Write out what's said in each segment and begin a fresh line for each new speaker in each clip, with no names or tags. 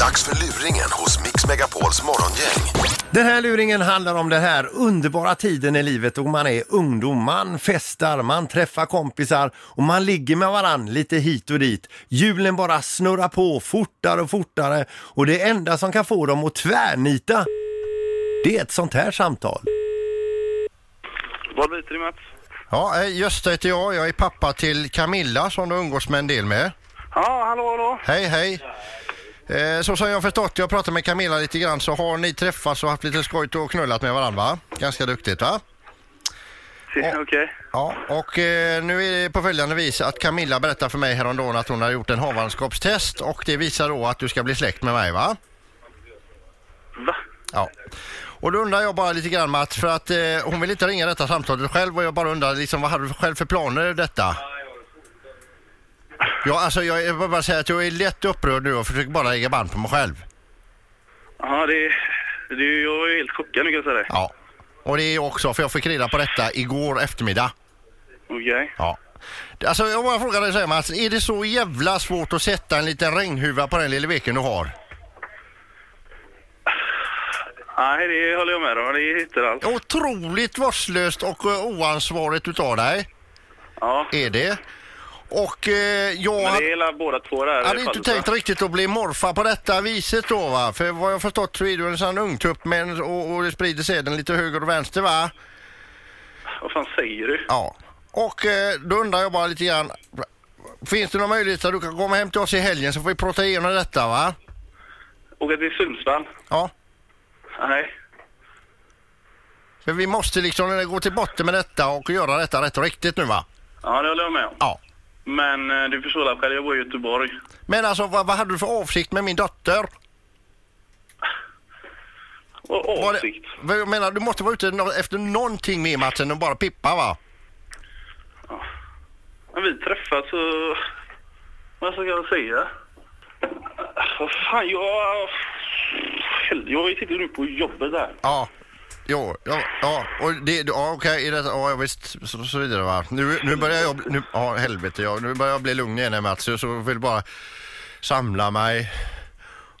Dags för luringen hos Mix Megapols morgongäng.
Den här luringen handlar om den här underbara tiden i livet då man är ungdom, man festar, man träffar kompisar och man ligger med varann lite hit och dit. Hjulen bara snurrar på fortare och fortare och det enda som kan få dem att tvärnita det är ett sånt här samtal.
Vad biter det Mats?
Ja, eh, Gösta heter jag. Jag är pappa till Camilla som du umgås med en del med.
Ja, hallå, hallå.
Hej, hej. Eh, Så som jag har förstått, jag pratade med Camilla lite grann, så har ni träffats och haft lite skojt och knullat med varandra va? Ganska duktigt va?
Okej.
Ja, och eh, nu är det på följande vis att Camilla berättar för mig häromdagen att hon har gjort en havandeskapstest och det visar då att du ska bli släkt med mig va?
Va?
Ja. Och då undrar jag bara lite grann Mats, för att eh, hon vill inte ringa detta samtalet själv och jag bara undrar liksom vad hade du själv för planer i detta? Ja, alltså jag, jag vill bara säga att jag är lätt upprörd nu och försöker bara lägga band på mig själv.
Ja, det, det, jag är helt chockad nu kan jag säga dig.
Ja. Och det är jag också, för jag fick reda på detta igår eftermiddag.
Okej.
Ja. Alltså jag bara frågar dig så här Mats, är det så jävla svårt att sätta en liten regnhuva på den lilla veken du har?
Nej, det håller jag med om. Det är inte alls.
Otroligt vårdslöst och eh, oansvarigt utav dig,
Ja.
är det. Och eh, jag...
Men
hade-
det är hela båda två där. i
Jag hade
det
inte
fallet,
tänkt
va?
riktigt att bli morfar på detta viset då va? För vad jag förstått så är du en sån ungtupp med en, och, och det sprider sedan lite höger och vänster va?
Vad fan säger du?
Ja. Och eh, då undrar jag bara lite grann. Finns det någon möjlighet att du kan komma hem till oss i helgen så får vi prata igenom detta va?
Åka till Sundsvall?
Ja.
Nej.
För vi måste liksom gå till botten med detta och göra detta rätt och riktigt nu va?
Ja, det håller jag med om.
Ja.
Men eh, du förstår väl själv, jag bor i Göteborg.
Men alltså vad, vad hade du för avsikt med min dotter?
Och
Var det-
avsikt.
Vad Jag menar du måste vara ute nå- efter någonting mer Mats än att bara pippa va?
Men vi träffas och... Vad ska jag säga? Vad fan, jag... Hel- Jag sitter nu på jobbet där.
Ja. Jo, ja, ja, och det, ja okej, i det, ja ja, visst, så, så vidare va. Nu, nu börjar jag, nu, ja helvete, ja, nu börjar jag bli lugn igen här, Mats, så jag vill bara samla mig,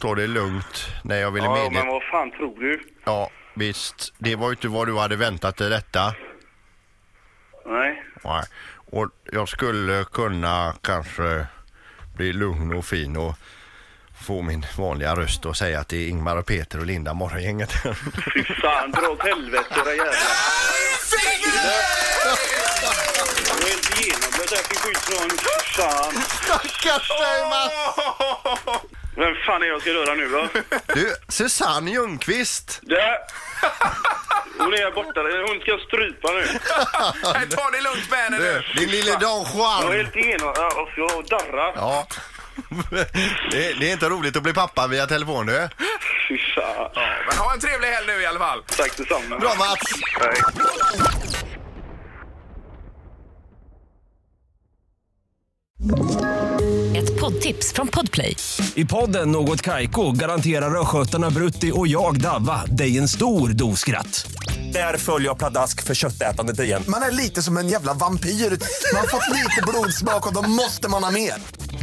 ta det lugnt när jag ville
Ja,
medge.
men vad fan tror du?
Ja, visst, det var ju inte vad du hade väntat dig detta.
Nej.
Nej. Och jag skulle kunna kanske bli lugn och fin och få min vanliga röst och säga att det är Ingmar och Peter och Linda morgongänget.
Fy fan, dra åt helvete era jävlar. Jag är helt genomblöt, jag fick skit från fan.
Stackars dig Mats!
Vem fan är jag ska röra nu då?
Du, Susanne Ljungqvist.
Där! Hon är här borta, hon ska strypa nu.
Nej, ta det lugnt med henne
Du,
nu.
din lille Don
Jag är
Juan.
helt genomblöt, jag darrar.
Ja. Det, det är inte roligt att bli pappa via telefon du.
Fy fan.
Men ha en trevlig helg nu i alla fall.
Tack detsamma.
Bra Mats!
Nej.
Ett poddtips från Podplay.
I podden Något Kaiko garanterar östgötarna Brutti och jag, Davva, dig en stor dos skratt. Där följer jag pladask för köttätandet igen.
Man är lite som en jävla vampyr. Man har fått lite blodsmak och då måste man ha mer.